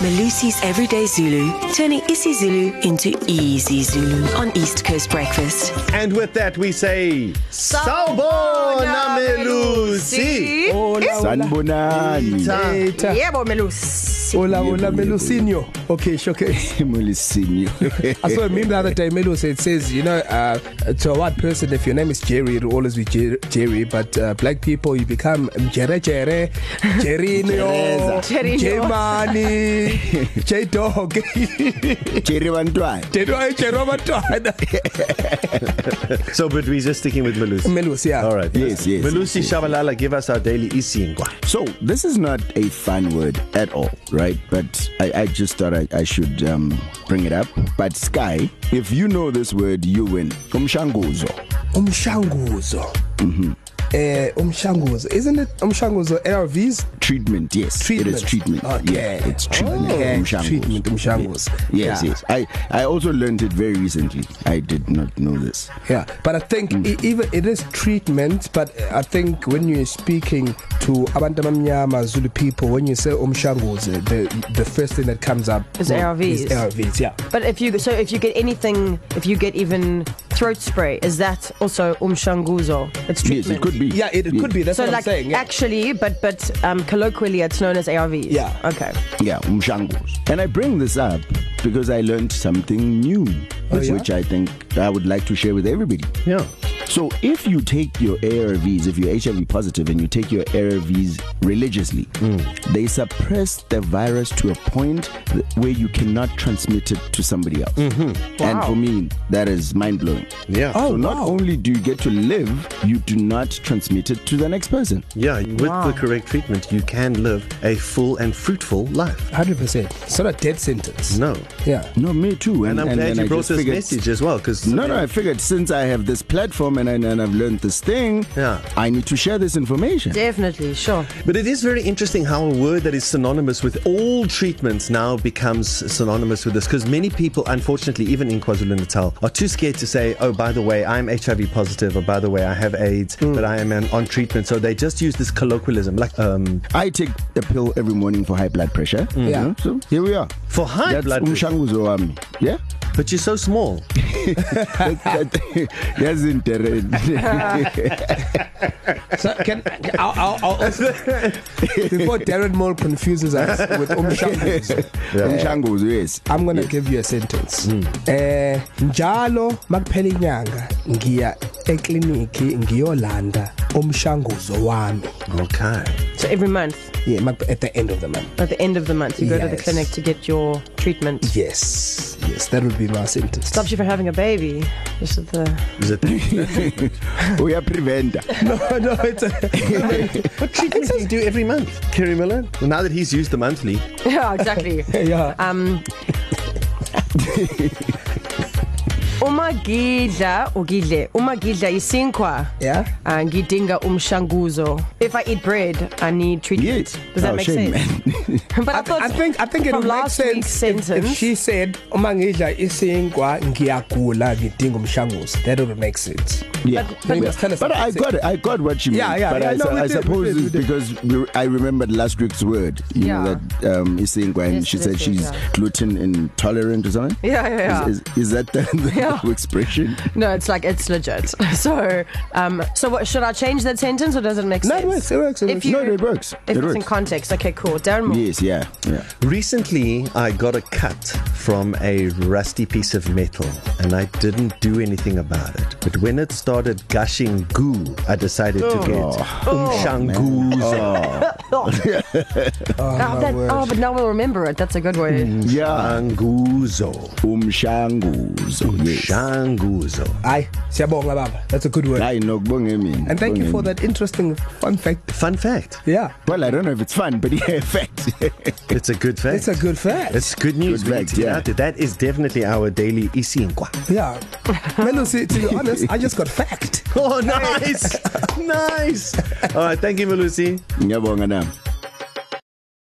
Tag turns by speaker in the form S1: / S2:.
S1: Malusi's Everyday Zulu, turning isiZulu into easy Zulu on East Coast Breakfast.
S2: And with that, we say Sawubona Oh, Melusi.
S3: sanibonani
S4: Eta.
S5: Yebo Melusi.
S4: Ola ola Melusinho. Okay, sure, okay.
S3: mulisinyo
S4: I saw a meme the other day. Melo said, says, you know, uh, to a white person, if your name is Jerry, it'll always be Jer- Jerry. But uh, black people, you become Jere Jere, Jerinho,
S5: Jerinho.
S4: Jemani, J Dog,
S3: jeri bantwana
S4: Jeroma
S2: So, but we're just sticking with Melusi.
S4: Melos, yeah.
S2: All right.
S3: Yes, yes,
S2: Melusi yes, Shabalala, give us our daily isingwa.
S3: So this is not a fun word at all, right? But I, I just thought I, I should um, bring it up. But Sky, if you know this word, you win. Umshanguzo.
S4: Umshanguzo. Mm-hmm. Uh, umshanguzo. Isn't it umshanguzo LVs?
S3: Treatment, yes. It is treatment.
S4: Okay.
S3: Yeah, it's treatment.
S4: Okay.
S3: Umshanguzo.
S4: Treatment, umshanguzo.
S3: Yes, yes. I, I also learned it very recently. I did not know this.
S4: Yeah, but I think mm. e- even it is treatment. But I think when you're speaking to abantu abamnyama Zulu people, when you say umshanguze, the the first thing that comes up
S5: Is ARVs.
S4: Is ARVs, yeah.
S5: But if you so if you get anything, if you get even throat spray, is that also umshanguzo? It's treatment.
S3: Yes, it could be.
S4: Yeah, it, it
S3: yeah.
S4: could be. That's
S5: So
S4: what
S5: like
S4: I'm saying. Yeah.
S5: actually, but but um, colloquially, it's known as ARVs.
S4: Yeah.
S5: Okay.
S3: Yeah, umshangos. And I bring this up because I learned something new,
S2: Oh,
S3: which,
S4: yeah?
S3: which I think I would like to share with everybody.
S2: Yeah.
S3: So if you take your ARVs, if you're HIV positive and you take your ARVs religiously,
S2: Hmm.
S3: they suppress the virus to a point th- where you cannot transmit it to somebody else. Mm-hmm. And for me, that is mind blowing.
S2: Yeah.
S4: Oh,
S3: so not
S4: wow.
S3: only do you get to live, you do not transmit it to the next person.
S2: Yeah. With wow.
S5: Wow.
S2: the correct treatment, you can live a full and fruitful life.
S4: Hundred percent. It's not a death sentence.
S2: No.
S4: Yeah.
S3: No, me too.
S2: And I'm and, glad
S3: then
S2: and you
S3: I
S2: brought
S3: just
S2: this
S3: figured-
S2: message as well, because
S3: No, no, I figured since I have this platform and, I, and I've learned this thing,
S2: Yeah.
S3: I need to share this information.
S5: Definitely. Sure.
S2: But it is very interesting how a word that is synonymous with all treatments now becomes synonymous with this because many people, unfortunately, even in KwaZulu Natal, are too scared to say, oh, by the way, I'm HIV positive, or by the way, I have AIDS,
S4: Hmm.
S2: but I am an, on treatment. So they just use this colloquialism, like um,
S3: I take a pill every morning for high blood pressure.
S4: Yeah.
S3: So here we are.
S2: for high
S3: That's
S2: blood pressure.
S3: umshanguzo wami. Yeah?
S2: But you're so small.
S3: That- that- That's interesting.
S4: So can I'll, I'll, I'll also, before Darren Moore confuses us with umshanguzo.
S3: Umshanguzo, yes.
S4: I'm gonna give you a sentence. Eh njalo makuphela inyanga ngiya ekliniki ngiyolanda umshanguzo wami.
S2: Okay.
S5: So every month,
S4: Yeah, mak- at the end of the month.
S5: at the end of the month, you go to the
S4: Yes.
S5: clinic to get your treatment.
S4: Yes. Yes, that would be my sentence.
S5: Stops you from having a baby. Just at the
S2: Is it
S3: We are preventer.
S4: no, no, it's a,
S2: what treatment do you do every month, Kerry Miller? Well, now that he's used the monthly,
S5: yeah, exactly.
S4: yeah.
S5: Um, uma ngidla ugidle uma ngidla isinkwa
S4: Yeah.
S5: uh, ngidinga umshanguzo if i eat bread i need treatment
S3: Yes.
S5: does that
S3: Oh,
S5: make
S3: shame,
S5: sense but i thought
S4: I think I think it
S5: from
S4: would make
S5: last week's
S4: sense if,
S5: sentence
S4: if she said uma ngidla isinkwa ngiyagula ngidinga umshanguzo. That would make sense.
S3: Yeah.
S5: but-
S3: Yeah.
S4: Tell us
S3: but I
S4: about it.
S3: got it. I got what you mean.
S4: Yeah, yeah,
S3: But
S4: yeah,
S3: I,
S4: no,
S3: su-
S4: we
S3: I
S4: did, we
S3: suppose
S4: did, we
S3: it's
S4: did.
S3: because we, I remembered last week's word. You know
S5: Yeah.
S3: that um, Isengwa, and
S5: Yes,
S3: she
S5: it
S3: said
S5: is,
S3: she's
S5: yeah.
S3: gluten intolerant or something.
S5: Yeah, yeah, yeah.
S3: Is, is, is that the, the
S5: Yeah.
S3: expression?
S5: no it's like it's legit so um so what should i change that sentence or does it make
S4: No, it
S5: sense
S4: works, it works, it
S5: If
S4: works.
S5: you-
S3: No, it works.
S5: if
S3: It
S5: it's in
S3: works.
S5: context okay cool darren Moore.
S3: Yes, yeah, yeah.
S2: Recently, I got a cut from a rusty piece of metal and I didn't do anything about it. But when it started gushing goo, I decided to get
S3: Oh.
S2: umshanguzo.
S5: oh, that, oh but now we'll remember it that's a good word
S3: Mm. Yeah,
S2: Anguzo.
S3: umshanguzo. Yes.
S2: Shanguzo.
S4: Hi. Siyabonga baba. That's a good word.
S3: Hayi, nokubonga mina.
S4: And thank you
S3: Ngibonge
S4: for
S3: mina.
S4: that interesting fun fact.
S2: Fun fact.
S4: Yeah.
S3: Well, I don't know if it's fun, but yeah, fact.
S2: It's a good fact.
S4: It's a good fact.
S2: It's good news.
S3: Good
S2: we need to
S3: fact,
S2: get
S3: yeah.
S2: out there. That is definitely our daily isinkwa.
S4: Yeah. Melo, see, to be honest, I just got fact.
S2: Oh, nice. nice. All right. Thank you, Melusi.
S3: Ngiyabonga nami.